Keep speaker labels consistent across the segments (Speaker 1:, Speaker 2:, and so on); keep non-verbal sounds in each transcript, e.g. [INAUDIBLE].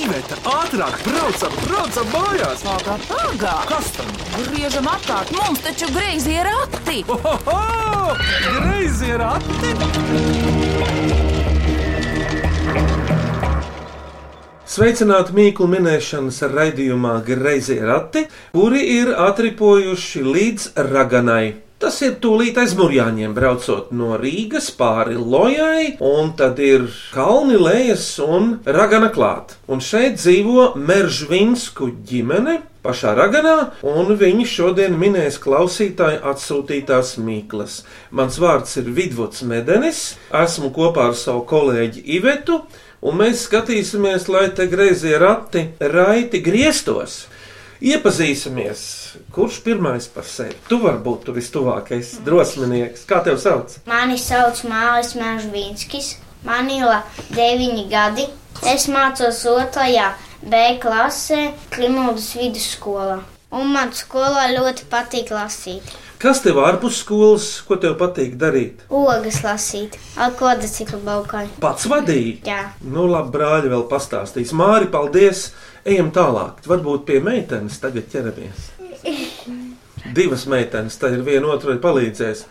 Speaker 1: Aneta, ātrāk, braucam, braucam mājās!
Speaker 2: Pagā, pagā!
Speaker 1: Kas tam?
Speaker 2: Griežam apkārt, mums taču greizi ir rati!
Speaker 1: Ohoho! Greizi ir atti!
Speaker 3: Sveicināti mīklu minēšanas raidījumā Greizi Rati, kuri ir atripojuši līdz raganai. Tas ir tūlīt aiz murjāņiem, braucot no Rīgas pāri Lojai, un tad ir kalni lejas un ragana klāt. Un šeit dzīvo Meržvinsku ģimene pašā raganā, un viņi šodien minēs klausītāju atsūtītās mīklas. Mans vārds ir Vidvuds Medenis, esmu kopā ar savu kolēģi Ivetu un mēs skatīsimies, lai te greizie rati raiti grieztos. Iepazīsimies, kurš pirmais par sevi. Tu vari būt tu vistuvākais, drosminieks. Kā tev sauc?
Speaker 4: Mani sauc Māris Mēžvīnskis, man ir 9 gadi. Es mācos 2. B klasē, Klimūdas vidusskolā. Un man skolā ļoti patīk lasīt.
Speaker 3: Kas tev ārpus skolas, ko tev patīk darīt?
Speaker 4: Ogas lasīt, ar kvadrciklu baukāju.
Speaker 3: Pats vadīji.
Speaker 4: Jā.
Speaker 3: Nu, labi, brāļi vēl pastāstīs. Māri, paldies! Ejam tālāk. Varbūt pie meitenes tagad ķeramies. Divas meitenes, tad ir viena otrai palīdzēs.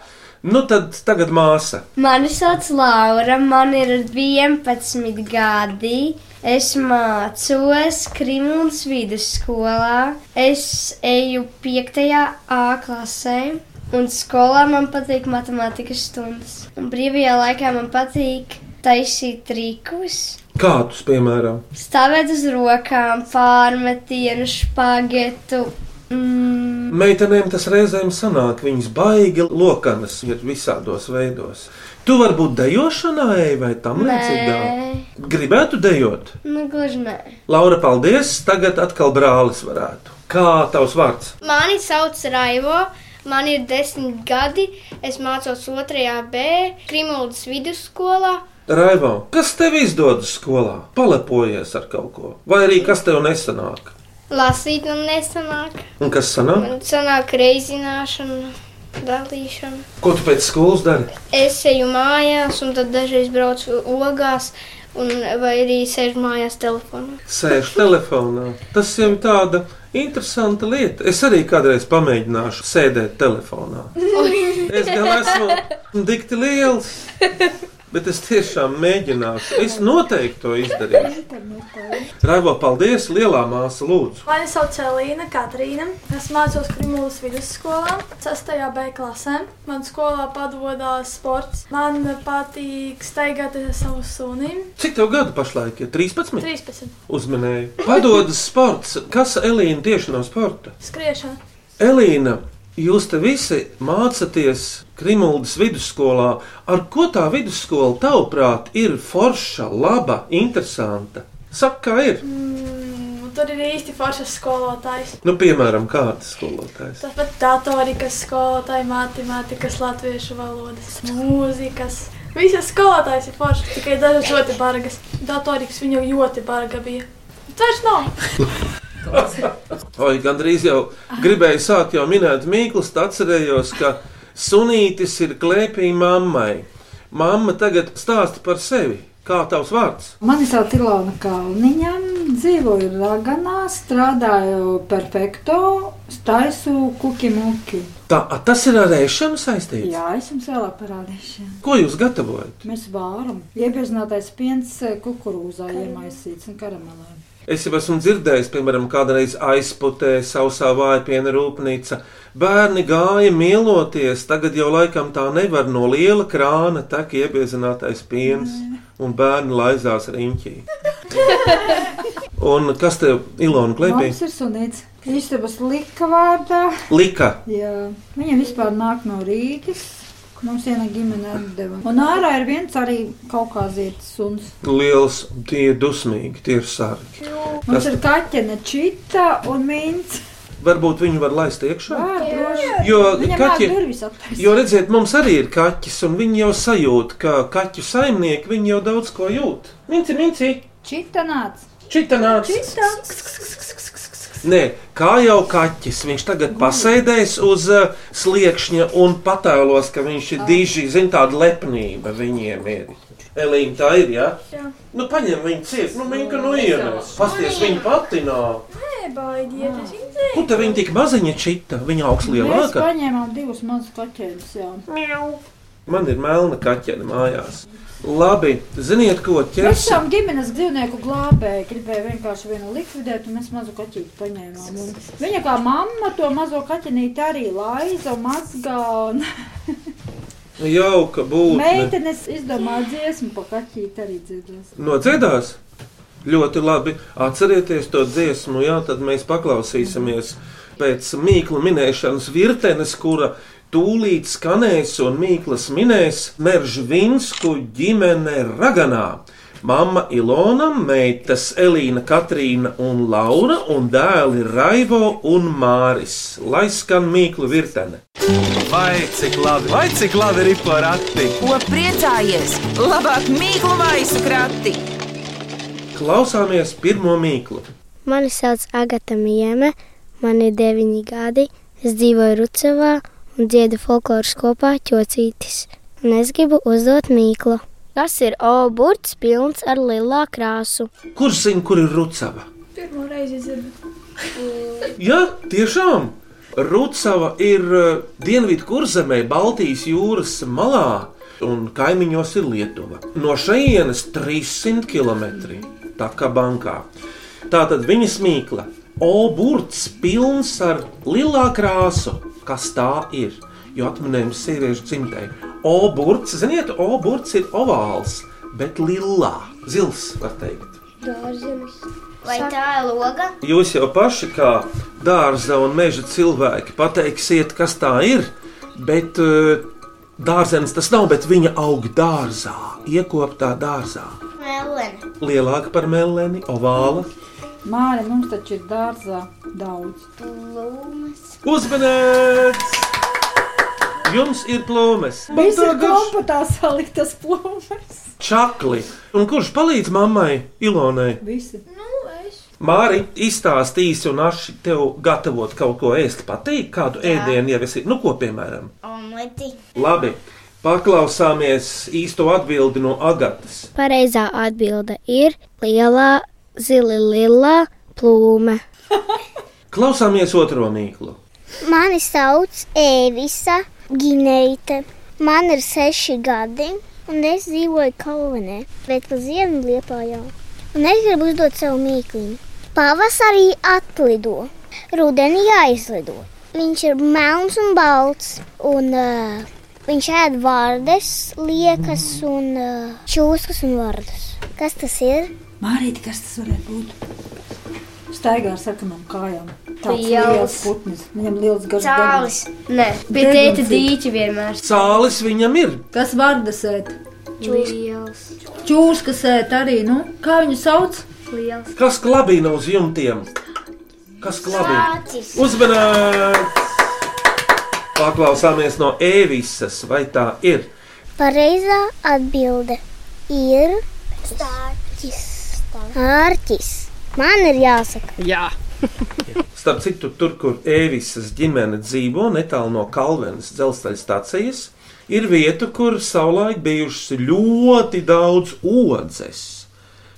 Speaker 3: Nu, tad tagad māsa.
Speaker 5: Mani sauc Laura, man ir 11 gadi. Es mācos Krimūnas vidusskolā. Es eju 5. A klasē. Un skolā man patīk matemātikas stundas. Un brīvajā laikā man patīk taisīt trikus,
Speaker 3: Kādus, piemēram?
Speaker 5: stāvēt uz rokām, pārmetienu, spagetu. Mm,
Speaker 3: Meitenēm tas reizēm sanāk, viņas baigi lokanas ir visādos veidos. Tu vari būt dejošanā, ej, vai tam līdzīgā?
Speaker 5: nē,
Speaker 3: Gribētu dejot.
Speaker 5: nu gluži nē.
Speaker 3: Laura, paldies! Tagad atkal brālis varētu. Kā tavs vārds?
Speaker 6: Mani sauc Raivo, man ir desmit gadi. Es mācos 2. B. Krimuldas vidusskolā.
Speaker 3: Raivo, kas tev izdodas skolā? Palepojies ar kaut ko, vai arī kas tev nesanāk?
Speaker 6: Lasīt man nesanāk,
Speaker 3: Un kas sanāk?
Speaker 6: man sanāk reizināšana, dalīšana.
Speaker 3: Ko tu pēc skolas dari?
Speaker 6: Es eju mājās, un tad dažreiz braucu ogās, un, vai arī sēžu mājās telefonā.
Speaker 3: Sēž telefonā. Tas jau ir tāda interesanta lieta. Es arī kādreiz pamēģināšu sēdēt telefonā. Es gan esmu dikti liels. Bet es tiešām mēģināšu. Es noteikti to izdarīšu. Raivo, paldies! Lielā māsa, lūdzu.
Speaker 7: Mani sauc Elīna Katrīna. Es mācos Krimūlas vidusskolā, 6. B klasē. Man skolā padodas sports. Man patīk staigāt ar savu suni.
Speaker 3: Cik tev gadu pašlaik ir? 13.
Speaker 7: 13.
Speaker 3: Uzmanēji. Padodas sports. Kas Elīna tieši no sporta?
Speaker 7: Skriešana.
Speaker 3: Elīna, jūs te visi mācāties Krimuldas vidusskolā. Ar ko tā vidusskola, tavuprāt, ir forša, laba, interesanta? Saka, kā ir?
Speaker 7: Mm, tur ir īsti foršas skolotājs.
Speaker 3: Nu, piemēram, kāds skolotājs.
Speaker 7: Tāpat datorikas skolotāji, matemātikas, latviešu valodas, mūzikas. Visas skolotājas ir foršas, tikai dažas ļoti bargas. Datorikas viņu ļoti barga bija. Taču nav.
Speaker 3: Oi, gandrīz jau gribēju sākt jau minēt Mīklus, tad atcerējos, ka sunītis ir klēpī mammai. Mamma tagad stāsta par sevi. Kā tavs vārds?
Speaker 8: Mani sauc Ilona Kalniņa, dzīvoju Raganā, strādāju perfekto, staisu kuki muki.
Speaker 3: Tā, a, tas ir ar ēšanu saistīts.
Speaker 8: Jā, es jums vēlāk parādīšu.
Speaker 3: Ko jūs gatavojat?
Speaker 8: Mēs vāram. Iebiežinātais piens kukurūzā iemaisīts un karamelē.
Speaker 3: Es jau esmu dzirdējis, piemēram, kādreiz aizputē sausā vājpiena rūpnīca. Bērni gāja mieloties, tagad jau laikam tā nevar no liela krāna tek iebiezinātais piens, un bērni laizās riņķī. Un kas tev, Ilona, klēpī?
Speaker 8: Mums ir sunīts. Istabas lika vārdā.
Speaker 3: Lika.
Speaker 8: Jā. Viņa vispār nāk no Rīgas. Mums viena ģimene atdeva. Un ārā ir viens arī kaukāzietis suns.
Speaker 3: Liels, tie ir dusmīgi, tie ir sargi.
Speaker 8: Mums
Speaker 3: Kas-
Speaker 8: ir kaķene čita un mīns.
Speaker 3: Varbūt viņu var laist iekšā?
Speaker 8: Vārdos.
Speaker 3: Jo
Speaker 8: Viņam ir
Speaker 3: kaķi-
Speaker 8: durvis atklāts.
Speaker 3: Jo redziet, mums arī ir kaķis, un viņi jau sajūt, ka kaķu saimnieki viņi jau daudz ko jūt. Minci, minci,
Speaker 8: Čita nāca.
Speaker 3: čita nāc! Nē, kā jau kaķis, viņš tagad pasēdēs uz uh, sliekšņa un patēlos, ka viņš ir diži, zina, tāda lepnība viņiem ir. Elīna, tā ir, jā?
Speaker 7: Jā.
Speaker 3: Nu, paņem viņu ciet, nu, viņa, ka nu ienes. Pasties, viņa pati nav.
Speaker 7: Nē, baidieties, viņi zina.
Speaker 3: Kur te viņa tik maziņa čita? Viņa augsts
Speaker 8: Mēs
Speaker 3: lielāka.
Speaker 8: paņēmām divus mazus kaķēnus. jā.
Speaker 3: Man ir melna kaķene mājās. Labi, ziniet ko,
Speaker 8: Mēs
Speaker 3: ķersim.
Speaker 8: esam ģimenes dzīvnieku glābēji. Gribēju vienkārši vienu likvidēt, un mēs mazu kaķīti paņēmām. Un viņa kā mamma to mazo kaķenīti arī laiza un mazgā. Un
Speaker 3: Jauka būtne.
Speaker 8: meitenes izdomāja dziesmu par kaķīti arī dzirdēs.
Speaker 3: Nodziedās? Ļoti labi. Atcerieties to dziesmu, jā, tad mēs paklausīsimies pēc mīklu minēšanas virtenes, kura tūlīt skanēs un mīklas minēs Meržvinsku ģimene Raganā. Mama Ilona, meitas Elīna, Katrīna un Laura un dēli Raivo un Māris. Lai skan mīklu virtene.
Speaker 1: Vai cik labi, vai cik labi ir porati?
Speaker 2: Ko priecājies? Labāk mīklu maisu krati!
Speaker 3: Klausāmies pirmo mīklu.
Speaker 4: Mani sauc Agata Mieme, man ir deviņi gadi. Es dzīvoju Rucavā un dziedu folkloras kopā ķocītis. Un es gribu uzdot mīklu. Tas ir obuļs, pilns ar lilā krāsu.
Speaker 3: Kurš zina, kur ir Rucava?
Speaker 7: Pirmo reizi dzirdu.
Speaker 3: [LAUGHS] Jā, tiešām! Rucava ir eh, dienvidu kurzemē, Baltijas jūras malā, un kaimiņos ir Lietuva. No šejienes 300 km. Tā kā bankā. Tā tad viņa smīkla. Oburts pilns ar lilā krāsu. Kas tā ir? Jo atminējums sieviešu dzimtai. Oburts, ziniet, oburts ir ovāls, bet lilā, zils, var teikt.
Speaker 4: Vai tā ir loga?
Speaker 3: Jūs jau paši kā dārza un meža cilvēki pateiksiet, kas tā ir. Bet eh, dārzenis tas nav, bet viņa aug dārzā, iekoptā dārzā.
Speaker 4: Melnē.
Speaker 3: Lielāka par meleni, ovāla.
Speaker 8: Māri, mums taču ir dārzā daudz.
Speaker 3: Uzmanīts! Jums ir plūmes,
Speaker 8: Viss ir
Speaker 3: garš
Speaker 8: kompatā saliktas plūmes.
Speaker 3: čakli. Un kurš palīdz mammai, Ilonai?
Speaker 8: Visi.
Speaker 3: Māri, izstāstīs un aši tev gatavot kaut ko ēst, pateikt, kādu Jā. ēdienu jau esi. Nu, ko piemēram?
Speaker 4: Omleti.
Speaker 3: Labi, paklausāmies īsto atbildi no Agatas.
Speaker 4: Pareizā atbilde ir lielā, zila, lila plūme.
Speaker 3: Klausāmies otro mīklu.
Speaker 9: Mani sauc Ēvisa Gineita. Man ir seši gadi, un es dzīvoju Kalvinē, bet uz ziemu liepā jau. Un es gribu uzdot sev mīklu. Pavasarī atlido, rudenī aizlido. Viņš ir melns un balts, un uh, viņš ēd vārdes, liekas, un uh, čūskas un vārdus. Kas tas ir?
Speaker 8: Mārīt, kas tas varētu būt? Staigā ar sarkanām kājām. Tāds
Speaker 5: Liels.
Speaker 8: liels putnis. Viņam liels garš
Speaker 4: Cālis.
Speaker 8: degums.
Speaker 5: Nē, pie tēta dīķa vienmēr.
Speaker 3: Cālis viņam ir.
Speaker 10: Kas vārdas ēt?
Speaker 4: Liels.
Speaker 10: Čūskas ēt arī, nu? Kā viņu sauc?
Speaker 3: Kas klabina uz jumtiem? Kas klabina? Uzmanīts! Paklausāmies no Ēvisas, vai tā ir?
Speaker 9: Pareizā atbilde ir stāķis. Ārķis. Man ir jāsaka,
Speaker 3: Starp citu, tur, kur Ēvisas ģimene dzīvo, netālu no Kalvenes dzelzceļa stācijas, ir vieta, kur savulaik bijušas ļoti daudz odzes.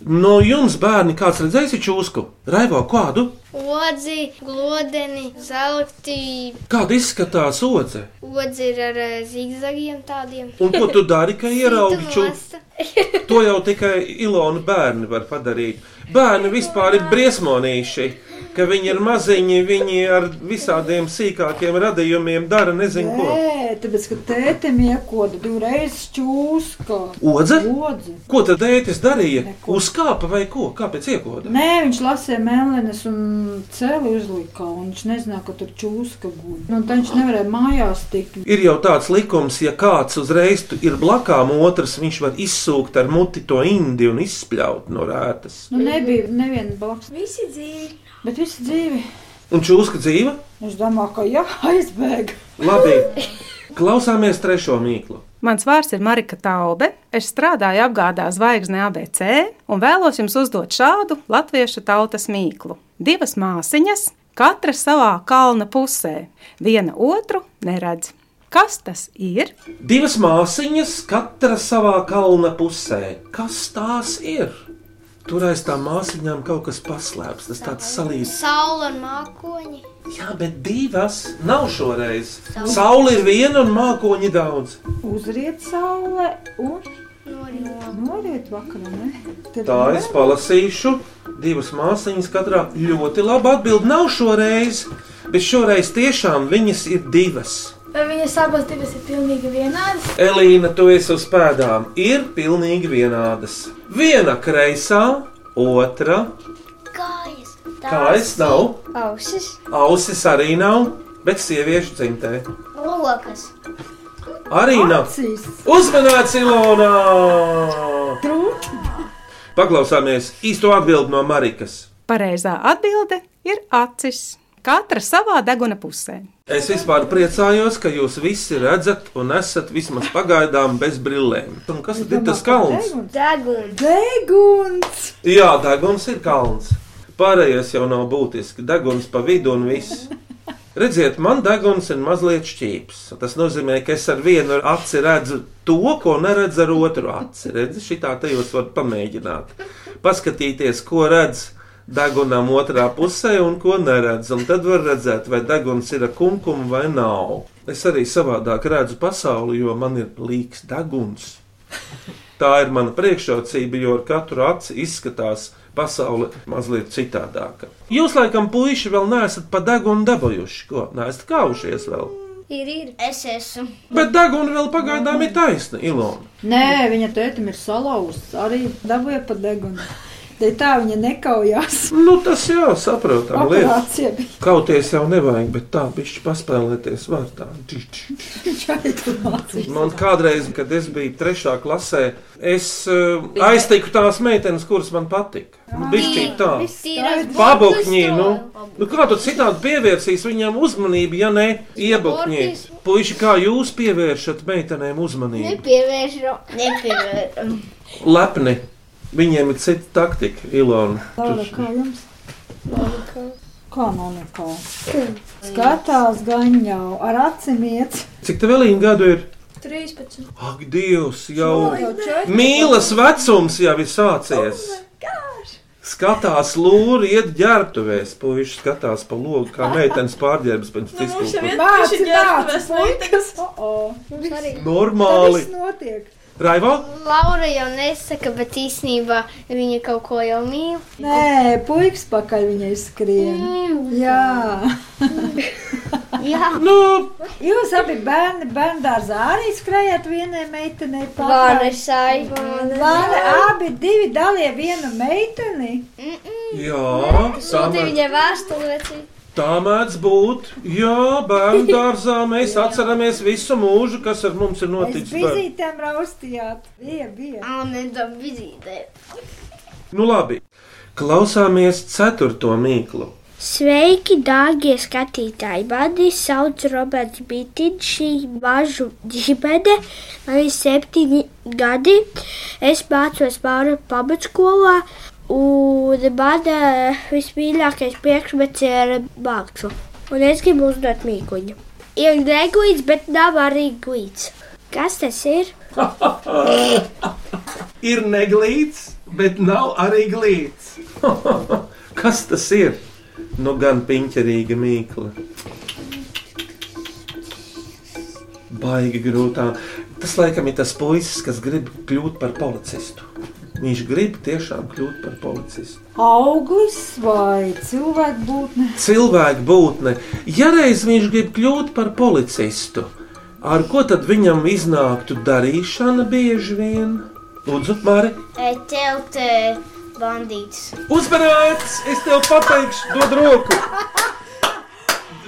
Speaker 3: No jums, bērni, kāds redzējis čūsku? Raivo kādu?
Speaker 6: Odzi, glodeni, zelti,
Speaker 3: Kāda izskatās odze?
Speaker 6: odzi ir ar eh, zigzagiem tādiem.
Speaker 3: Un ko tu dari, kad ieraugi
Speaker 6: Citu
Speaker 3: čūsku?
Speaker 6: lasta.
Speaker 3: To jau tikai Ilona bērni var padarīt. Bērni vispār ir briesmonīši, ka viņi ir maziņi, viņi ar visādiem sīkākiem radījumiem dara nezinu ko.
Speaker 8: Nē, tāpēc, ka tētim iekoda divreiz čūska.
Speaker 3: Odze?
Speaker 8: Lodzi.
Speaker 3: Ko tad dēļas darīja?
Speaker 8: Neko.
Speaker 3: Uzkāpa vai ko? Kāpēc iekoda?
Speaker 8: Nē, viņš lasīja mēlēnes un cēlīja uzlika, un viņš nezināja, ka tur čūska guļ. Nu, tā viņš nevarēja mājās tikt.
Speaker 3: Ir jau tāds likums, ja kāds uzreiz tu- ir blakām, otrs viņš var izsūkt ar muti to indi un izspļaut no rētas.
Speaker 8: Nu, nebija neviena blakus,
Speaker 7: Visi dzīvi.
Speaker 8: bet visi dzīvi.
Speaker 3: Un čūska dzīva?
Speaker 8: Es domāju, ka jā, [LAUGHS] aizbēga.
Speaker 3: Labi, klausāmies trešo mīklu.
Speaker 11: Mans vārds ir Marika Taube. Es strādāju apgādā zvaigznē ABC un vēlos jums uzdot šādu latviešu tautas mīklu. Divas māsiņas, katra savā kalna pusē, viena otru neredz. Kas tas ir?
Speaker 3: Divas māsīņas, katra savā kalna pusē. Kas tās ir? Tur aiz tām māsīņām kaut kas paslēpts. Tas tāds salīdzinājums.
Speaker 6: Saula un mākoņi.
Speaker 3: Jā, bet divas nav šoreiz. Saula ir viena un mākoņi daudz.
Speaker 8: Uzriet saule un noriet vakarā. ne? Tad
Speaker 3: Tā es palasīšu. Divas māsīņas katrā ļoti laba atbild. Nav šoreiz, bet šoreiz tiešām viņas ir divas.
Speaker 7: Vai viņas abas divas ir pilnīgi vienādas?
Speaker 3: Elīna, tu esi uz pēdām, ir pilnīgi vienādas. Viena kreisā, otra
Speaker 4: Kājas.
Speaker 3: kājas nav,
Speaker 5: Ausis.
Speaker 3: ausis arī nav, bet sieviešu dzimtē
Speaker 4: Lokas.
Speaker 3: arī nav.
Speaker 10: Acīs.
Speaker 3: Uzmanīts, Ilona! Paklausāmies īsto atbildi no Marikas.
Speaker 11: Pareizā atbilde ir acis. Katra savā deguna pusē.
Speaker 3: Es vispār priecājos, ka jūs visi redzat un esat vismaz pagaidām bez brillēm. Un kas tad ir tas kalns?
Speaker 5: Deguns.
Speaker 8: Deguns.
Speaker 3: Jā, deguns ir kalns. Pārējais jau nav būtiski. Deguns pa vidu un viss. Redziet, man deguns ir mazliet šķīps. Tas nozīmē, ka es ar vienu aci redzu to, ko neredzu ar otru aci. Redzi, šitā te jūs varat pamēģināt. Paskatīties, ko redz degunam otrā pusē un ko neredz. Un tad var redzēt, vai deguns ir ar kunkumu vai nav. Es arī savādāk redzu pasauli, jo man ir līks deguns. Tā ir mana priekšrocība, jo ar katru aci izskatās pasaule mazliet citādāka. Jūs, laikam, puiši vēl neesat pa degunu dabūjuši, ko neesat kaušies vēl.
Speaker 4: Ir, ir. Es esmu.
Speaker 3: Bet deguna vēl pagaidām ir taisna, Ilona.
Speaker 8: Nē, viņa tētim ir salauzts. Arī dabūja pa [LAUGHS] degunu. Te tā viņa nekaujās.
Speaker 3: Nu, tas jau saprotam lietas.
Speaker 8: Operācija bija.
Speaker 3: Kauties jau nevajag, bet tā pišķi paspēlēties vārtā. Čič, čič. Man kādreiz, kad es biju trešā klasē, es uh, aiztiku tās meitenes, kuras man patika. Nu, Bišķīgi tā. Pabukņī, nu, nu kā tu citādi pievērsīs viņam uzmanību, ja ne iebukņī? Puiši, kā jūs pievēršat meitenēm uzmanību?
Speaker 4: Nepievēršu.
Speaker 6: [LAUGHS]
Speaker 4: Nepievēršu.
Speaker 3: Lepni. Viņiem ir cita taktika, Ilona.
Speaker 8: Laura, kā jums? Laura, kā nav nekā? Skatās gaņā, ar acīm iet.
Speaker 3: Cik tev vēl īņa gadu ir?
Speaker 7: 13.
Speaker 3: Ak, Dievs, jau
Speaker 7: Jau četri.
Speaker 3: mīlas vecums jau ir sācies. Skatās lūri, iet ģērbtuvēs. Puiši skatās pa logu, kā meitenes pārģērbs pēc
Speaker 7: Nu, Mums jau
Speaker 3: fiskām.
Speaker 7: ir
Speaker 8: Bāc,
Speaker 7: bijusi
Speaker 8: bāc,
Speaker 7: ģērbtuves
Speaker 8: [LAUGHS]
Speaker 7: muitas.
Speaker 3: Normāli.
Speaker 8: Tas notiek.
Speaker 3: Raivo?
Speaker 6: Laura jau nesaka, bet īsnībā viņa kaut ko jau mīl.
Speaker 8: Nē, puikas pakaļ viņai skrien. Jā.
Speaker 4: Jā.
Speaker 3: Nu,
Speaker 8: Jūs abi bērni bērndārzā arī skrējāt vienai meitenei
Speaker 5: Vāne
Speaker 8: pāri.
Speaker 5: saikni.
Speaker 8: Vāne, abi divi dalīja vienu meiteni.
Speaker 3: Jā, tā
Speaker 5: Sūti
Speaker 3: mēdz-
Speaker 5: viņai vēstulēci.
Speaker 3: tā mēdz būt. Jā, bērnu dārzā mēs atceramies visu mūžu, kas ar mums ir
Speaker 8: Aiz
Speaker 3: noticis. bērnu-
Speaker 8: vizītēm raustījāt. Bija, bija.
Speaker 4: Anedam vizītē.
Speaker 3: Nu, labi. Klausāmies ceturto mīklu.
Speaker 9: Sveiki, dārgie skatītāji! Mani sauc Roberts Bitiņš, šī mažu ģimene. Man ir septiņi gadi. Es mācos pāri pamatskolā, un mana vismīļākais priekšmets ir māksla. Un es gribu uzdot mīkuņu. Ir neglīts, bet nav arī glīts. Kas tas ir?
Speaker 3: ir neglīts, bet nav arī glīts. [LAUGHS] Kas tas ir? Nu, gan piņķerīga mīkla. Baigi grūtā. Tas laikam ir tas puisis, kas grib kļūt par policistu. Viņš grib tiešām kļūt par policistu.
Speaker 8: Auglis vai cilvēku būtne?
Speaker 3: cilvēka būtne. Ja reiz viņš grib kļūt par policistu, ar ko tad viņam iznāktu darīšana bieži vien? Lūdzu, Mārtiņ,
Speaker 4: Telt bandīts.
Speaker 3: uzmanīgs! Es tev pateikšu, dod roku!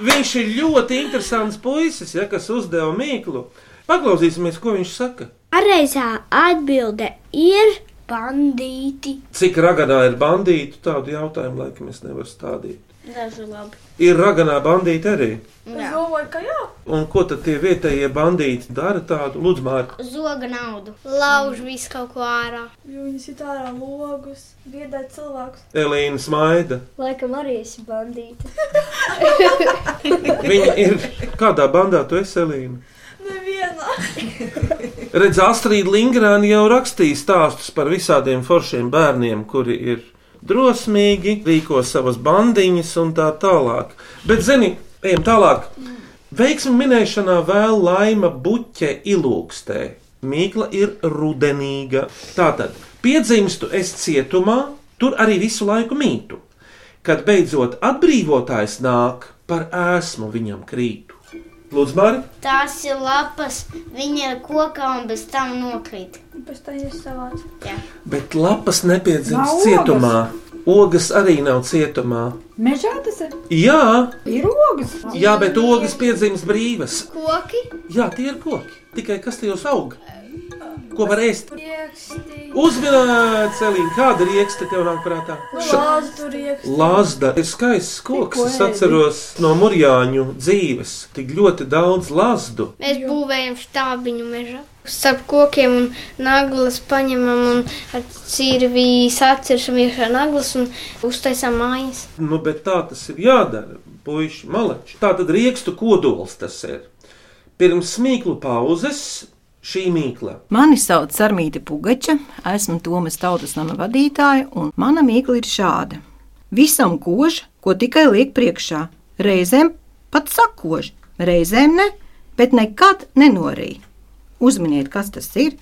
Speaker 3: Viņš ir ļoti interesants puisis, ja, kas uzdeva mīklu. Paklausīsimies, ko viņš saka.
Speaker 9: Pareizā atbilde ir bandīti.
Speaker 3: Cik raganā ir bandīti? Tādu jautājumu laikam es nevaru stādīt.
Speaker 4: Dažu labi.
Speaker 3: Ir raganā bandīti arī.
Speaker 7: Es domāju, ka jā.
Speaker 3: Un ko tad tie vietējie bandīti dara tādu? Lūdzu, Mārtiņ!
Speaker 4: Zoga naudu.
Speaker 6: Lauž visu kaut ko ārā.
Speaker 7: Jo viņas ir ārā logus, biedē cilvēkus.
Speaker 3: Elīna Smaida.
Speaker 5: Laikam arī esi bandīta.
Speaker 3: Viņa ir kādā bandā, tu esi Elīna. Redz, Astrid Lingrāna jau rakstīja stāstus par visādiem foršiem bērniem, kuri ir drosmīgi, rīko savas bandiņas un tā tālāk. Bet, zini, ejam tālāk. Veiksmi minēšanā vēl laima buķe ilūkstē. Mīkla ir rudenīga. Tātad, piedzimstu es cietumā, tur arī visu laiku mītu. Kad beidzot atbrīvotājs nāk, par ēsmu viņam krītu. Lūdzu, Mārtiņ!
Speaker 4: Tās ir lapas, viņa ir kokā un bez tam nokrīt.
Speaker 7: Pēc tam jūs savāc.
Speaker 4: Jā.
Speaker 3: Bet lapas nepiedzimst
Speaker 8: Nav
Speaker 3: cietumā. Ogas arī nav cietumā.
Speaker 8: Mežā tas ir.
Speaker 3: Jā,
Speaker 8: Ir ogas.
Speaker 3: jā bet ogas piedzimst brīvas.
Speaker 6: Koki,
Speaker 3: Jā, tie ir koki. Tikai kas tajos aug? Ko var ēst?
Speaker 7: Rieksti.
Speaker 3: Uzminēt, Elīna, kāda rieksta tev nāk prātā?
Speaker 7: Nu,
Speaker 3: Ša-
Speaker 7: Lāzdu rieksti.
Speaker 3: Lāzda ir skaists koks.
Speaker 7: Tikko
Speaker 3: Es
Speaker 7: ēdi.
Speaker 3: atceros no murjāņu dzīves tik ļoti daudz lazdu.
Speaker 6: mēs būvējam štābiņu mežā. Starp kokiem un naglas paņemam un ar cirvīs atceršam iekšā naglas un uztaisām mājas.
Speaker 3: Nu, bet tā tas ir jādara, puiši, maleči. Tā tad riekstu kodols tas ir. Pirms mīklu pauzes šī mīkla.
Speaker 12: Mani sauc Sarmīte Pugača, esmu Tomas Tautas nama vadītāja, un mana mīkla ir šāda. Visam kož, ko tikai liek priekšā, reizēm pat sakož, reizēm ne, bet nekad nenorī. Uzminiet, kas tas ir?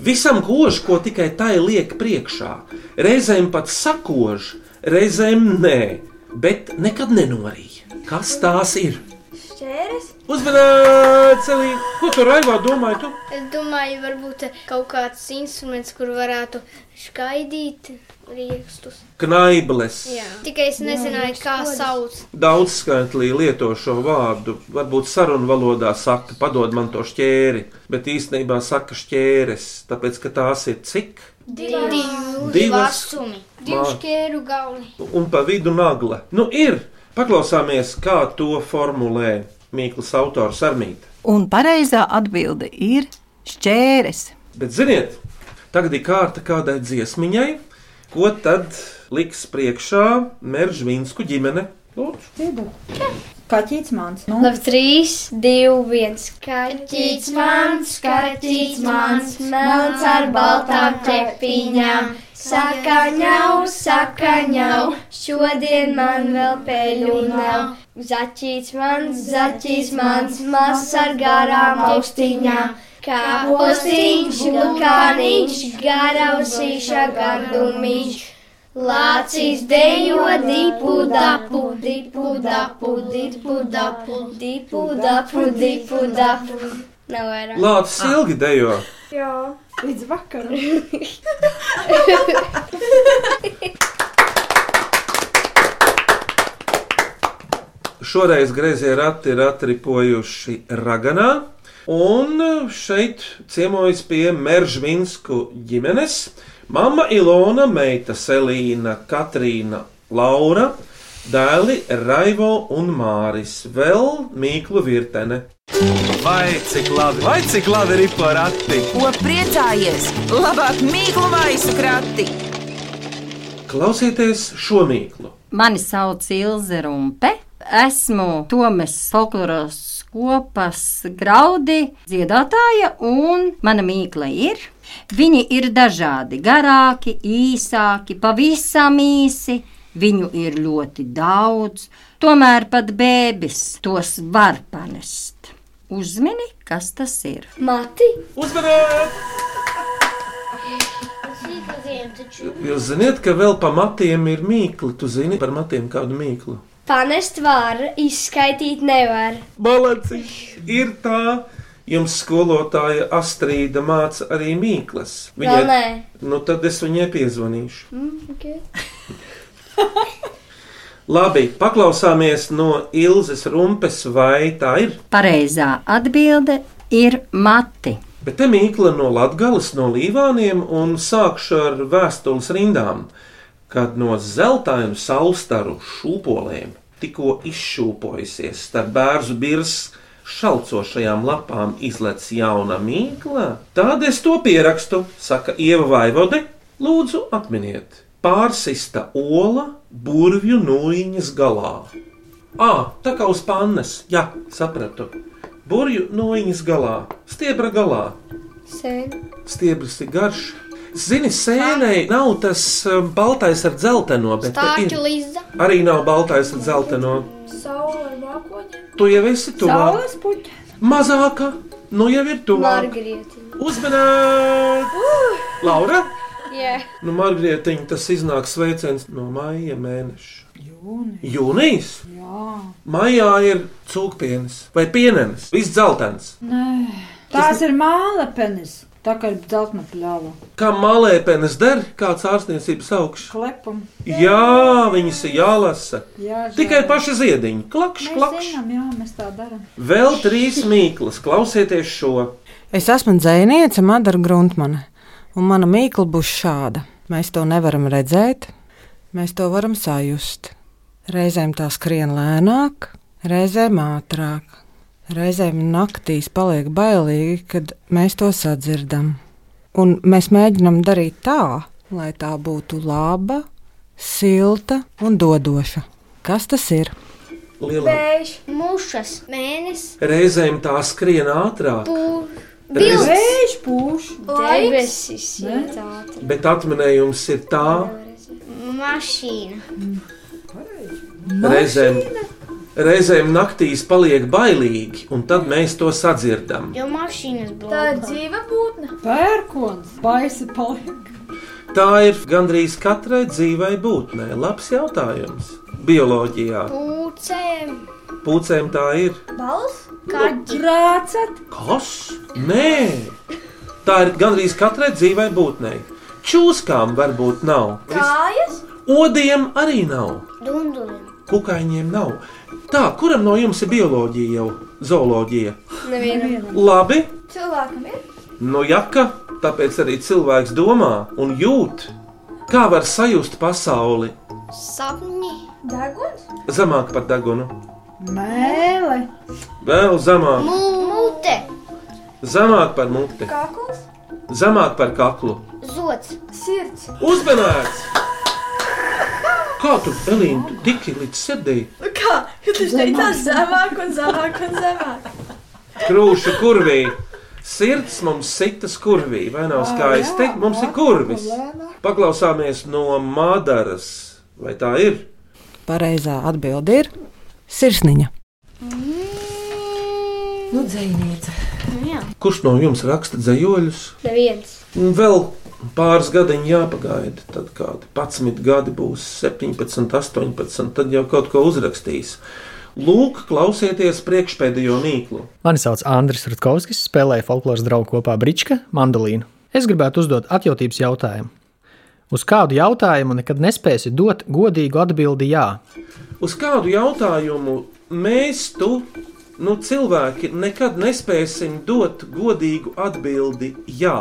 Speaker 3: Visam kož, ko tikai tai liek priekšā, reizēm pat sakož, reizēm nē, bet nekad nenorīja. Kas tās ir?
Speaker 6: Šķēres?
Speaker 3: Uzmanīts, Elīna! Ko tu raivā domāji? Tu?
Speaker 6: Es domāju, varbūt kaut kāds instruments, kur varētu skaidīt riekstus.
Speaker 3: Knaibles.
Speaker 6: Jā. Tikai es nezināju, kā sauc.
Speaker 3: Daudzskaitlī lieto šo vārdu. Varbūt sarunu valodā saka, padod man to šķēri, bet īstenībā saka šķēres, tāpēc ka tās ir cik Divas.
Speaker 4: vecumi.
Speaker 3: Divu
Speaker 6: šķēru galni.
Speaker 3: un pa vidu nagla. Nu ir! Paklausāmies, kā to formulē Mīklas autors Armīts.
Speaker 12: Un pareizā atbilde ir šķēres.
Speaker 3: Bet, ziniet, tagad ir kārta kādai dziesmiņai, ko tad liks priekšā Meržvinsku ģimene. Lūdzu.
Speaker 8: Dzirdu. Kaķis mans. Nu.
Speaker 5: Labi, trīs, divi, viens.
Speaker 8: Kaķis
Speaker 5: mans, kaķis mans, melns ar baltām ķepiņām. Sakaņau, sakaņau, šodien man vēl pēļu nav. Zaķis mans, zaķis mans, mazs ar garām austiņām. Kā postiņš, lukāniņš, garausīša gardumiņš. Lācis dejo dipu dapu, dipu dapu, dipu dapu, dipu dapu, dipu dapu. Nav vairāk.
Speaker 3: Lācis ilgi dejo.
Speaker 7: Jā. Līdz vakaram.
Speaker 3: Šoreiz grazēji rati ir atripojuši Raganā. Un šeit ciemojas pie Meržvinsku ģimenes. Mama Ilona, meita Selīna, Katrīna, Laura, dēli Raivo un Māris, vēl Mīklu virtene.
Speaker 1: Vai cik labi, vai cik labi ir porati?
Speaker 2: Ko priecājies? Labāk mīklu maisu krati!
Speaker 3: Klausieties šo mīklu!
Speaker 13: Mani sauc Ilze Rumpe. Esmu Tomas Folkloras kopas graudi dziedātāja, un mana mīkla ir. Viņi ir dažādi, garāki, īsāki, pavisam īsi. Viņu ir ļoti daudz, tomēr pat bēbis tos var panest. Uzmini, kas tas ir?
Speaker 5: Mati!
Speaker 3: Uzmanīt! Jūs zināt, ka vēl pa matiem ir mīkla. Jūs zināt par matiem kādu mīklu.
Speaker 5: Panest var, izskaitīt nevar.
Speaker 3: Balanciņš ir tā. Jums skolotāja Astrīda māca arī mīklas.
Speaker 5: Vēl nē.
Speaker 3: nu tad es viņai piezvanīšu.
Speaker 5: Mm, okay.
Speaker 3: Labi, paklausāmies no Ilzas rumpes, vai tā ir.
Speaker 13: Pareizā atbilde ir mati.
Speaker 3: Bet te mīkla no Latvijas, no Līvāniem, un sākšu ar vēstules rindām, kad no zeltainu saustaru šūpolēm tikko izšūpojusies starp bērnu birs. Šalcošajām lapām izlec jauna mīkla. Tādēļ es to pierakstu, saka Ieva Vaivode. Lūdzu, atminiet, pārsista ola burvju nūjiņas galā. Ā, tā kā uz pannas, jā, sapratu. burbuļu noiņas galā, stiebra galā.
Speaker 5: Sēne.
Speaker 3: Stiebris ir garš. Zini, sēnei nav tas um, baltais ar dzelteno, bet te ir.
Speaker 6: Stāķu līdzi.
Speaker 3: arī nav baltais ar dzelteno.
Speaker 7: Saula ar mākoņiem.
Speaker 3: Tu jau esi tuvāk.
Speaker 7: Saules puķi.
Speaker 3: Mazāka, nu jau ir tuvāk.
Speaker 5: Margarita.
Speaker 3: Uzmanīt! Laura!
Speaker 5: Jā.
Speaker 3: Nu, Margaritiņa, tas iznāk sveiciens no maija mēneša. Jūnijas. Jūnijas?
Speaker 8: Jā.
Speaker 3: Maijā ir cūkpienas vai pienenes, viss dzeltens.
Speaker 8: Nē. Tās ir mālepenes. Tā kā ir dzeltna pļāva.
Speaker 3: Kā malēpenes der, kāds ārstniecības augšs.
Speaker 8: Klepam.
Speaker 3: Jā, viņas ir jālasa.
Speaker 8: Jā, žēl.
Speaker 3: Tikai paši ziediņi. Klakš,
Speaker 8: Mēs
Speaker 3: klakš.
Speaker 8: zinām, jā, mēs tā darām.
Speaker 3: Vēl trīs mīklas, klausieties šo.
Speaker 14: Es esmu dzēniece Madara Gruntmane, un mana mīkla būs šāda. Mēs to nevaram redzēt, mēs to varam sajust. Reizēm tā skrien lēnāk, reizēm ātrāk. Reizēm naktīs paliek bailīgi, kad mēs to sadzirdam. Un mēs mēģinam darīt tā, lai tā būtu laba, silta un dodoša. Kas tas ir?
Speaker 3: Lielā.
Speaker 4: mušas, mēnesis,
Speaker 3: Reizēm tā skrien ātrāk, Reiz-
Speaker 4: Vējš
Speaker 8: pūš,
Speaker 4: debesis,
Speaker 3: bet atminējums ir tā,
Speaker 4: mašīna.
Speaker 3: reizēm, reizēm naktīs paliek bailīgi, un tad mēs to sadzirdam.
Speaker 4: Jo mašīnas
Speaker 7: Tā
Speaker 4: blūzi.
Speaker 7: ir dzīva būtne.
Speaker 8: Pērkons, baisa paliek.
Speaker 3: Tā ir gandrīz katrai dzīvai būtnē. Labs jautājums. Bioloģijā
Speaker 7: Pūcēm.
Speaker 3: pūcēm tā ir.
Speaker 7: Balss.
Speaker 4: Kaķi.
Speaker 8: Rācat.
Speaker 3: Kas? Nē, tā ir gandrīz katrai dzīvai būtnē. Čūskām varbūt nav.
Speaker 7: Kājas.
Speaker 3: Odiem arī nav.
Speaker 4: Dundurim.
Speaker 3: Kukaiņiem nav. Tā, kuram no jums ir bioloģija jau? Zooloģija.
Speaker 7: Nevienam.
Speaker 3: Labi,
Speaker 7: Cilvēkam ir.
Speaker 3: no jaka, tāpēc arī cilvēks domā un jūt, kā var sajust pasauli
Speaker 7: Sapņi. Deguns.
Speaker 3: zemāk par degunu,
Speaker 8: Mēle.
Speaker 3: vēl zemāk.
Speaker 4: Mūte.
Speaker 3: Zemāk par muti,
Speaker 7: Kakls.
Speaker 3: zemāk par kaklu.
Speaker 4: Zots.
Speaker 7: Sirds.
Speaker 3: Uzmanīgs! Kā tu, Elīna, tu tiki līdz sirdī?
Speaker 7: Nu Kā? Jo tu teicāt zemāk un zemāk un zemāk.
Speaker 3: Krūšu kurvī! Sirds mums sitas kurvī, vai nav skaisti? Mums ir kurvis. Paklausāmies no Madaras. Vai tā ir?
Speaker 14: Pareizā atbilde ir sirsniņa.
Speaker 2: Nu, dzēniece.
Speaker 3: Kurš no jums raksta dzējoļus?
Speaker 5: Neviens.
Speaker 3: Un Vēl pāris gadiņi jāpagaida. Tad kādi 11 gadi būs, 17, 18, tad jau kaut ko uzrakstīs. Lūk, klausieties priekšpēdējo mīklu.
Speaker 15: Mani sauc Andris Rutkovskis, spēlēju folkloras draugu kopā Brička mandolīnu. Es gribētu uzdot atjautības jautājumu. Uz kādu jautājumu nekad nespēsi dot godīgu atbildi jā?
Speaker 3: Uz kādu jautājumu mēs, tu, nu, cilvēki, nekad nespēsim dot godīgu atbildi jā.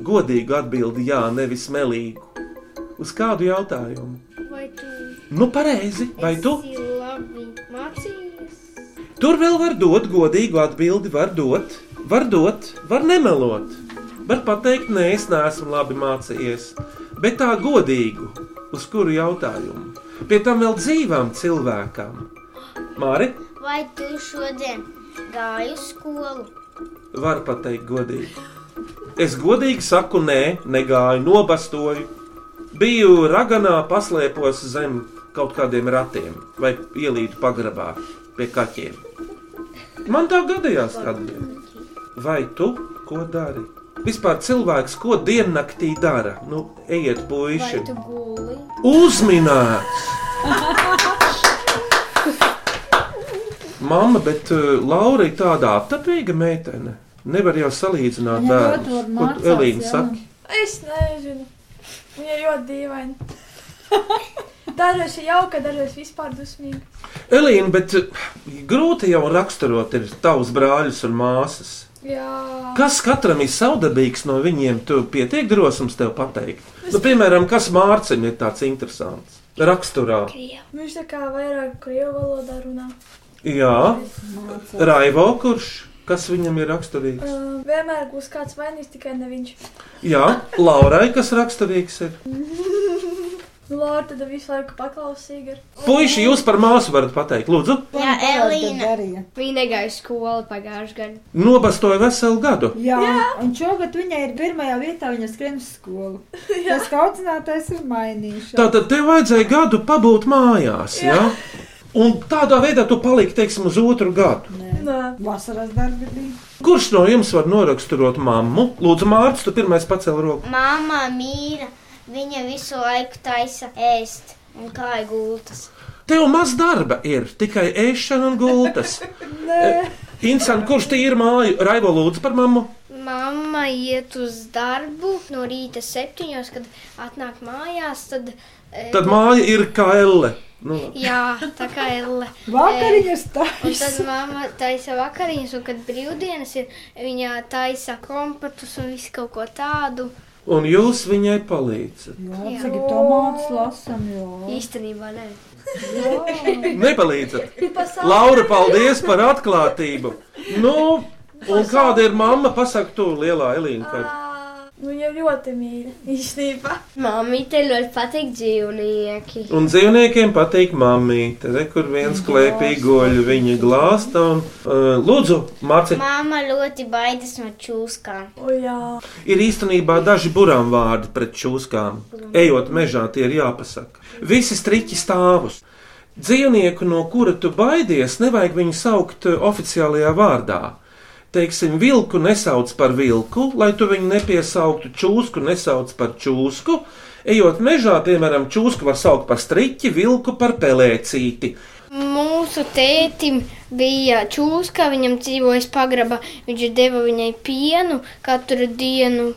Speaker 3: Godīgu atbildi jā, nevis melīgu. Uz kādu jautājumu?
Speaker 6: Vai tu
Speaker 3: Nu, pareizi, vai tu?
Speaker 6: esi labi mācījies?
Speaker 3: Tur vēl var dot godīgu atbildi, var dot, var dot, var nemelot. Var pateikt, nē, es neesmu labi mācījies, bet tā godīgu, uz kuru jautājumu. Pie tam vēl dzīvām cilvēkam. Māri,
Speaker 4: Vai tu šodien gāji uz skolu?
Speaker 3: var pateikt godīgi. Es godīgi saku, nē, negāju, nobastoju. Biju raganā, paslēpos zem kaut kādiem ratiem vai ielīdu pagrabā pie kaķiem. Man tā gadījās kādreiz. Vai tu ko dari? Vispār cilvēks, ko diennaktī dara? Nu, ejiet, puiši!
Speaker 6: guli?
Speaker 3: Uzminēts! Mama, bet uh, Laura ir tāda aptapīga meitene. Nevar jau salīdzināt
Speaker 7: Viņa
Speaker 3: bērnu.
Speaker 7: ļoti labi
Speaker 3: Ko tu,
Speaker 7: mācās,
Speaker 3: Elīna
Speaker 7: jā.
Speaker 3: saka?
Speaker 7: Es nezinu. Viņa ir ļoti [LAUGHS] dīvaina. Dažreiz ir jauka, dažreiz vispār dusmīga.
Speaker 3: Elīna, bet uh, grūti jau raksturot ir tavus brāļus un māsas.
Speaker 7: Jā.
Speaker 3: Kas katram ir savdabīgs no viņiem? Tu pietiek drosums tev pateikt. Nu, piemēram, kas Mārciņam ir tāds interesants? Raksturā.
Speaker 7: Nu, Viņš tā kā vairāk krievu valodā runā.
Speaker 3: Jā, Raivo, kurš? Kas viņam ir raksturīgs?
Speaker 7: Uh, vienmēr būs kāds vainīgs, tikai ne viņš.
Speaker 3: Jā, Laurai, kas raksturīgs ir?
Speaker 7: Nu, Lorda, tad visu laiku paklausīga.
Speaker 3: Puisši, jūs par māsu varat pateikt, lūdzu.
Speaker 6: Jā, Elīna. Viņa negāja skolu pagājušajā gadā.
Speaker 3: Nobastoja veselu gadu.
Speaker 8: Jā, un šogad viņai ir pirmajā vietā, viņa skrien uz
Speaker 6: [LAUGHS]
Speaker 8: skolu. Tas audzinātais ir mainījušies.
Speaker 3: Tātad tev vajadzēja gadu pabūt mājās, jā?
Speaker 8: Jā.
Speaker 3: Ja? Un tādā veidā tu paliki, teiksim, uz otru gadu.
Speaker 8: Vasaras darbi bija.
Speaker 3: Kurš no jums var noraksturot mammu? Lūdzu, Mārcis, tu pirmais pacēl roku.
Speaker 4: Māma mīra, viņa visu laiku taisa ēst un kāja gultas.
Speaker 3: Tev maz darba ir, tikai ēšana un gultas.
Speaker 6: Nē.
Speaker 3: Insan, kurš te ir māju? Raivo lūdzu par mammu.
Speaker 6: Mama iet uz darbu no rīta septiņos, kad atnāk mājās. Tad, e,
Speaker 3: Tad māja ir kā elle. Nu,
Speaker 6: Jā, tā kā elle.
Speaker 8: Vakariņas
Speaker 6: E,
Speaker 8: taisa.
Speaker 6: Un tad mamma taisa vakariņas, un kad brīvdienas ir, viņa taisa kompotus un visu kaut ko tādu.
Speaker 3: un jūs viņai palīdzat.
Speaker 6: Jā.
Speaker 8: Tagad tomātus lasam, jo.
Speaker 6: Īstenībā nē.
Speaker 3: Nepalīdzat.
Speaker 7: Pasaulē.
Speaker 3: Laura, paldies par atklātību. Nu, un kāda ir mamma? Pasaka, tu lielā Elīna. Kad...
Speaker 7: Nu, viņa ļoti mīļa. Īstenībā.
Speaker 6: Māmīte ļoti patīk dzīvnieki.
Speaker 3: Un dzīvniekiem patīk mammīte. Re, kur viens klēpī goļu viņa glāsta. Un, uh, lūdzu, māci,
Speaker 4: Māma ļoti baidās no čūskām.
Speaker 7: O, jā.
Speaker 3: ir īstenībā daži burām vārdi pret čūskām. Ejot mežā, tie ir jāpasaka. Visi striķi stāvus. Dzīvnieku, no kura tu baidies, nevajag viņu saukt uh, oficiālajā vārdā. Teiksim, vilku nesauc par vilku, lai tu viņu nepiesauktu, čūsku nesauc par čūsku. Ejot mežā, piemēram, čūsku var saukt par striķi, vilku par pelēcīti.
Speaker 6: Mūsu tētim bija čūska, viņam dzīvoja pagraba. Viņš deva viņai pienu katru dienu.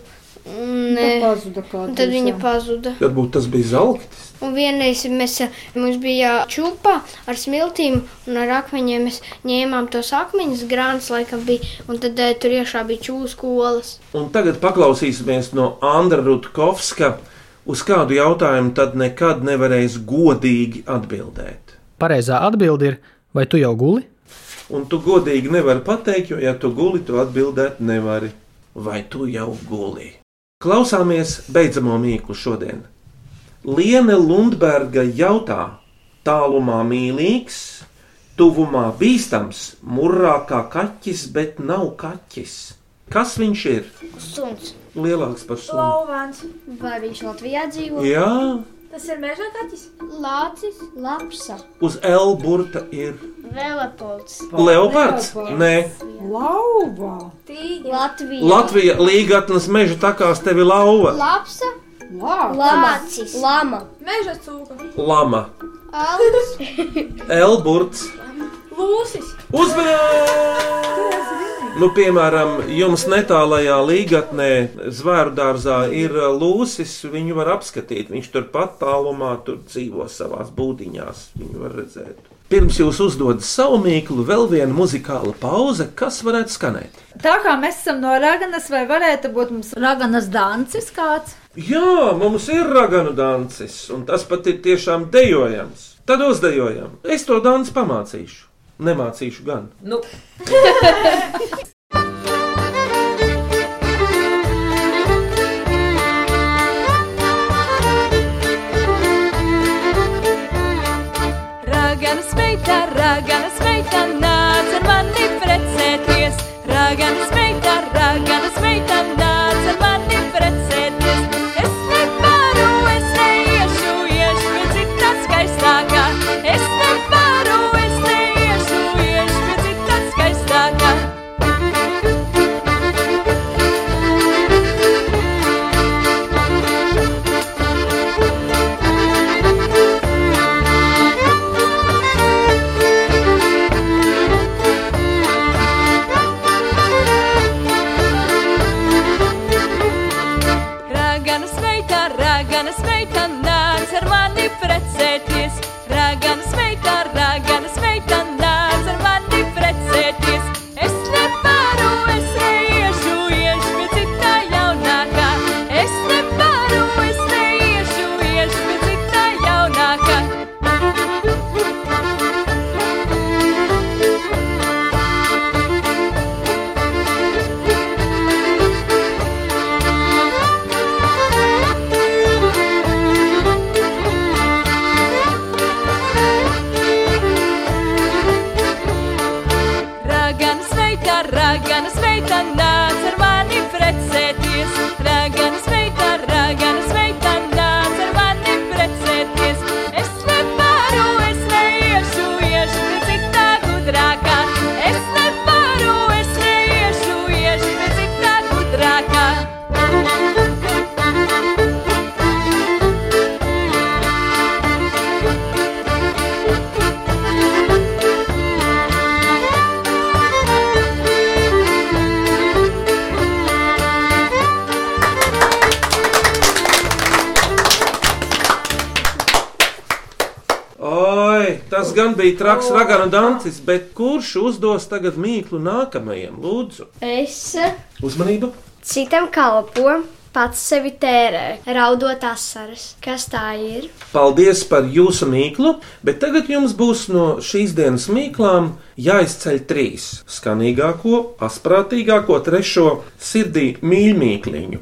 Speaker 6: Un,
Speaker 8: Tad
Speaker 6: eh,
Speaker 8: Nu, pazuda kāds.
Speaker 6: un tad viņa pazuda.
Speaker 3: Varbūt tas bija zelta.
Speaker 6: Un vienreiz mēs, eh, mums bija čūpa ar smiltīm un ar akmeņiem. Mēs ņēmām tos akmeņus, grāns laikam bija, un tad eh, tur iekšā bija čūskolas.
Speaker 3: Un tagad paklausīsimies no Andra Rutkovska, uz kādu jautājumu tad nekad nevarēs godīgi atbildēt.
Speaker 15: Pareizā atbilde ir, vai tu jau guli?
Speaker 3: Un tu godīgi nevari pateikt, jo, ja tu guli, tu atbildēt nevari. Vai tu jau guli? Klausāmies beidzamo mīklu šodien. Liene Lundberga jautā, tālumā mīlīgs, tuvumā bīstams, murrā kā kaķis, bet nav kaķis. Kas viņš ir?
Speaker 4: Suns.
Speaker 3: Lielāks par sunu.
Speaker 7: Lauvāns.
Speaker 6: Vai viņš Latvijā dzīvo?
Speaker 3: Jā,
Speaker 7: Tas ir meža kaķis.
Speaker 6: Lācis, lapsa.
Speaker 3: uz L burta ir
Speaker 4: Velepols.
Speaker 3: leopards. Nē,
Speaker 8: Lauva.
Speaker 6: Tīģi. Latvija.
Speaker 3: Latvija līgatnes meža takās tevi lauva.
Speaker 6: Lapsa.
Speaker 7: Lācis.
Speaker 6: Lama.
Speaker 7: Meža cūka.
Speaker 3: Lama,
Speaker 7: Alus.
Speaker 3: L burts.
Speaker 7: Lūsis.
Speaker 3: Uzmanības! Nu, piemēram, jums netālajā līgatnē, zvēru dārzā, ir uh, lūsis. Viņu var apskatīt. Viņš turpat tālumā tur dzīvo savā būdiņā. Viņu var redzēt. Pirms jūs uzdodat savu mīklu, vēl viena muzikāla pauze, kas varētu skanēt.
Speaker 10: Tā kā mēs esam no Raganas, vai varētu būt mums Raganas dancis kāds?
Speaker 3: Jā, mums ir raganu dancis, un tas pat ir tiešām dejojams. Tad uzdejojam. Es to dansu pamācīšu. Nemācīšu gan.
Speaker 2: Nu.
Speaker 16: Ragana sveita, ragana sveita, nāc ar mani precēties. Ragana sveita, ragana sveita, nāc ar mani precēties. Es nevaru, es neiešu, iešu pie citas skaistākā. Es nevaru, es neiešu, iešu pie citas skaistākā.
Speaker 17: Thank you.
Speaker 16: Raganas meita nāc ar mani precēties. Raganas meita, raganas meita nāc ar mani precēties. Es nevaru, es neiešu, iešu pie citā gudrākā. Es nevaru, es neiešu, iešu pie citā gudrākā.
Speaker 3: Oi, tas gan bija traks raganu dantis, bet kurš uzdos tagad mīklu nākamajam? Lūdzu,
Speaker 5: Es
Speaker 3: uzmanību!
Speaker 5: citam kalpo, pats sevi tērē, raudot asaras. Kas tā ir?
Speaker 3: Paldies par jūsu mīklu, bet tagad jums būs no šīs dienas mīklām jāizceļ trīs - skanīgāko, asprātīgāko, trešo sirdī mīļmīkliņu.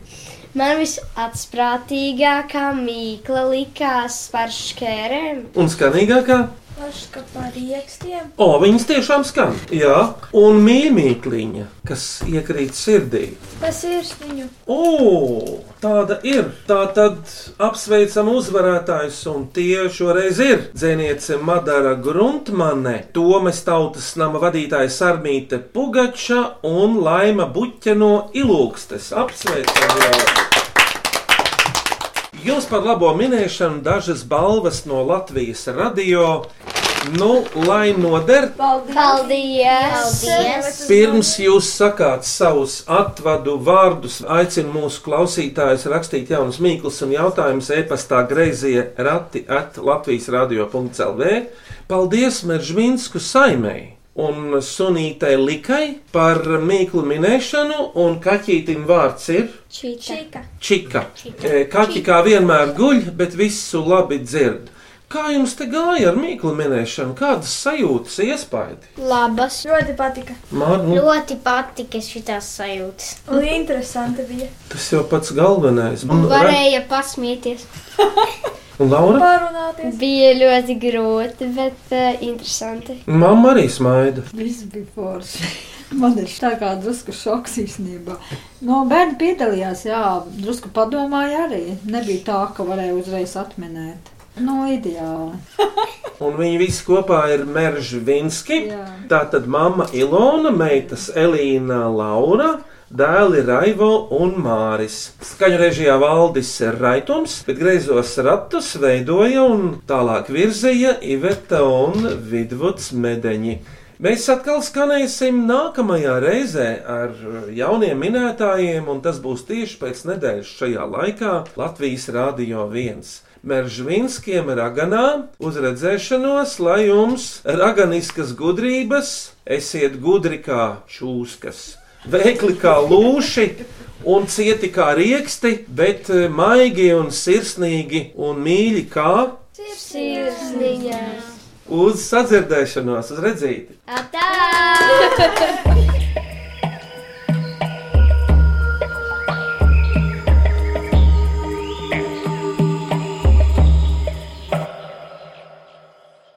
Speaker 5: Man visapsprātīgākā mīkla likās par škērēm.
Speaker 3: Un skanīgākā,
Speaker 7: Paška par iekstiem.
Speaker 3: o, viņas tiešām skan, jā, un mīļmīkliņa, kas iekrīt sirdī.
Speaker 7: Tas ir viņu.
Speaker 3: O, tāda ir. Tā tad apsveicam uzvarētājus, un tie šoreiz ir dzēniece Madara Gruntmane, Tomas tautas nama vadītāja Sarmīte Pugača un Laima Buķa no Ilūkstes. Apsveicam! Jā. Jums par labo minēšanu dažas balvas no Latvijas radio. Nu, lai noder,
Speaker 5: Paldies! Paldies!
Speaker 4: Paldies!
Speaker 3: Pirms jūs sakāt savus atvadu vārdus, aicinu mūsu klausītājus rakstīt jaunus mīklus un jautājumus e-pastā greizie rati at Latvijas radio.lv. Paldies Meržvinsku saimei! Un sunītai likai par mīklu minēšanu, un kaķītim vārds ir
Speaker 5: Čika.
Speaker 3: čika. E, Kaķi kā vienmēr guļ, bet visu labi dzird. Kā jums te gāja ar mīklu minēšanu? Kādas sajūtas, iespaidi?
Speaker 7: Labas. Ļoti patika.
Speaker 3: Mār, nu,
Speaker 4: Ļoti patika šitās sajūtas.
Speaker 7: Un interesanti bija.
Speaker 3: Tas jau pats galvenais. Un,
Speaker 5: Varēja pasmieties.
Speaker 3: un Laura?
Speaker 7: Parunāties.
Speaker 5: Bija ļoti grūti, bet uh, interesanti.
Speaker 3: Mamma arī smaida.
Speaker 10: Viss bija forši.
Speaker 8: [LAUGHS] Man ir tā kā drusku šoks īstenībā. No bērna piedalījās, jā, drusku padomāja arī. Nebija tā, ka varēja uzreiz atminēt. No ideāli.
Speaker 3: Un viņi visi kopā ir Meržvinski. Tā tad mamma Ilona, meitas Elīna Laura. Dēli Raivo un Māris. Skaņu režijā valdis Raitons, bet greizos ratus veidoja un tālāk virzīja Iveta un Vidvuds Medeņi. Mēs atkal skanēsim nākamajā reizē ar jauniem minētājiem, un tas būs tieši pēc nedēļas šajā laikā Latvijas Rādio 1. Meržvinskiem raganā uz redzēšanos, lai jums raganiskas gudrības, esiet gudri kā čūskas, veikli kā lūši un cieti kā rieksti, bet eh, maigi un sirsnīgi un mīļi kā
Speaker 5: Sirsniņā!
Speaker 3: uz sadzirdēšanos, uz redzīti!
Speaker 5: Atā!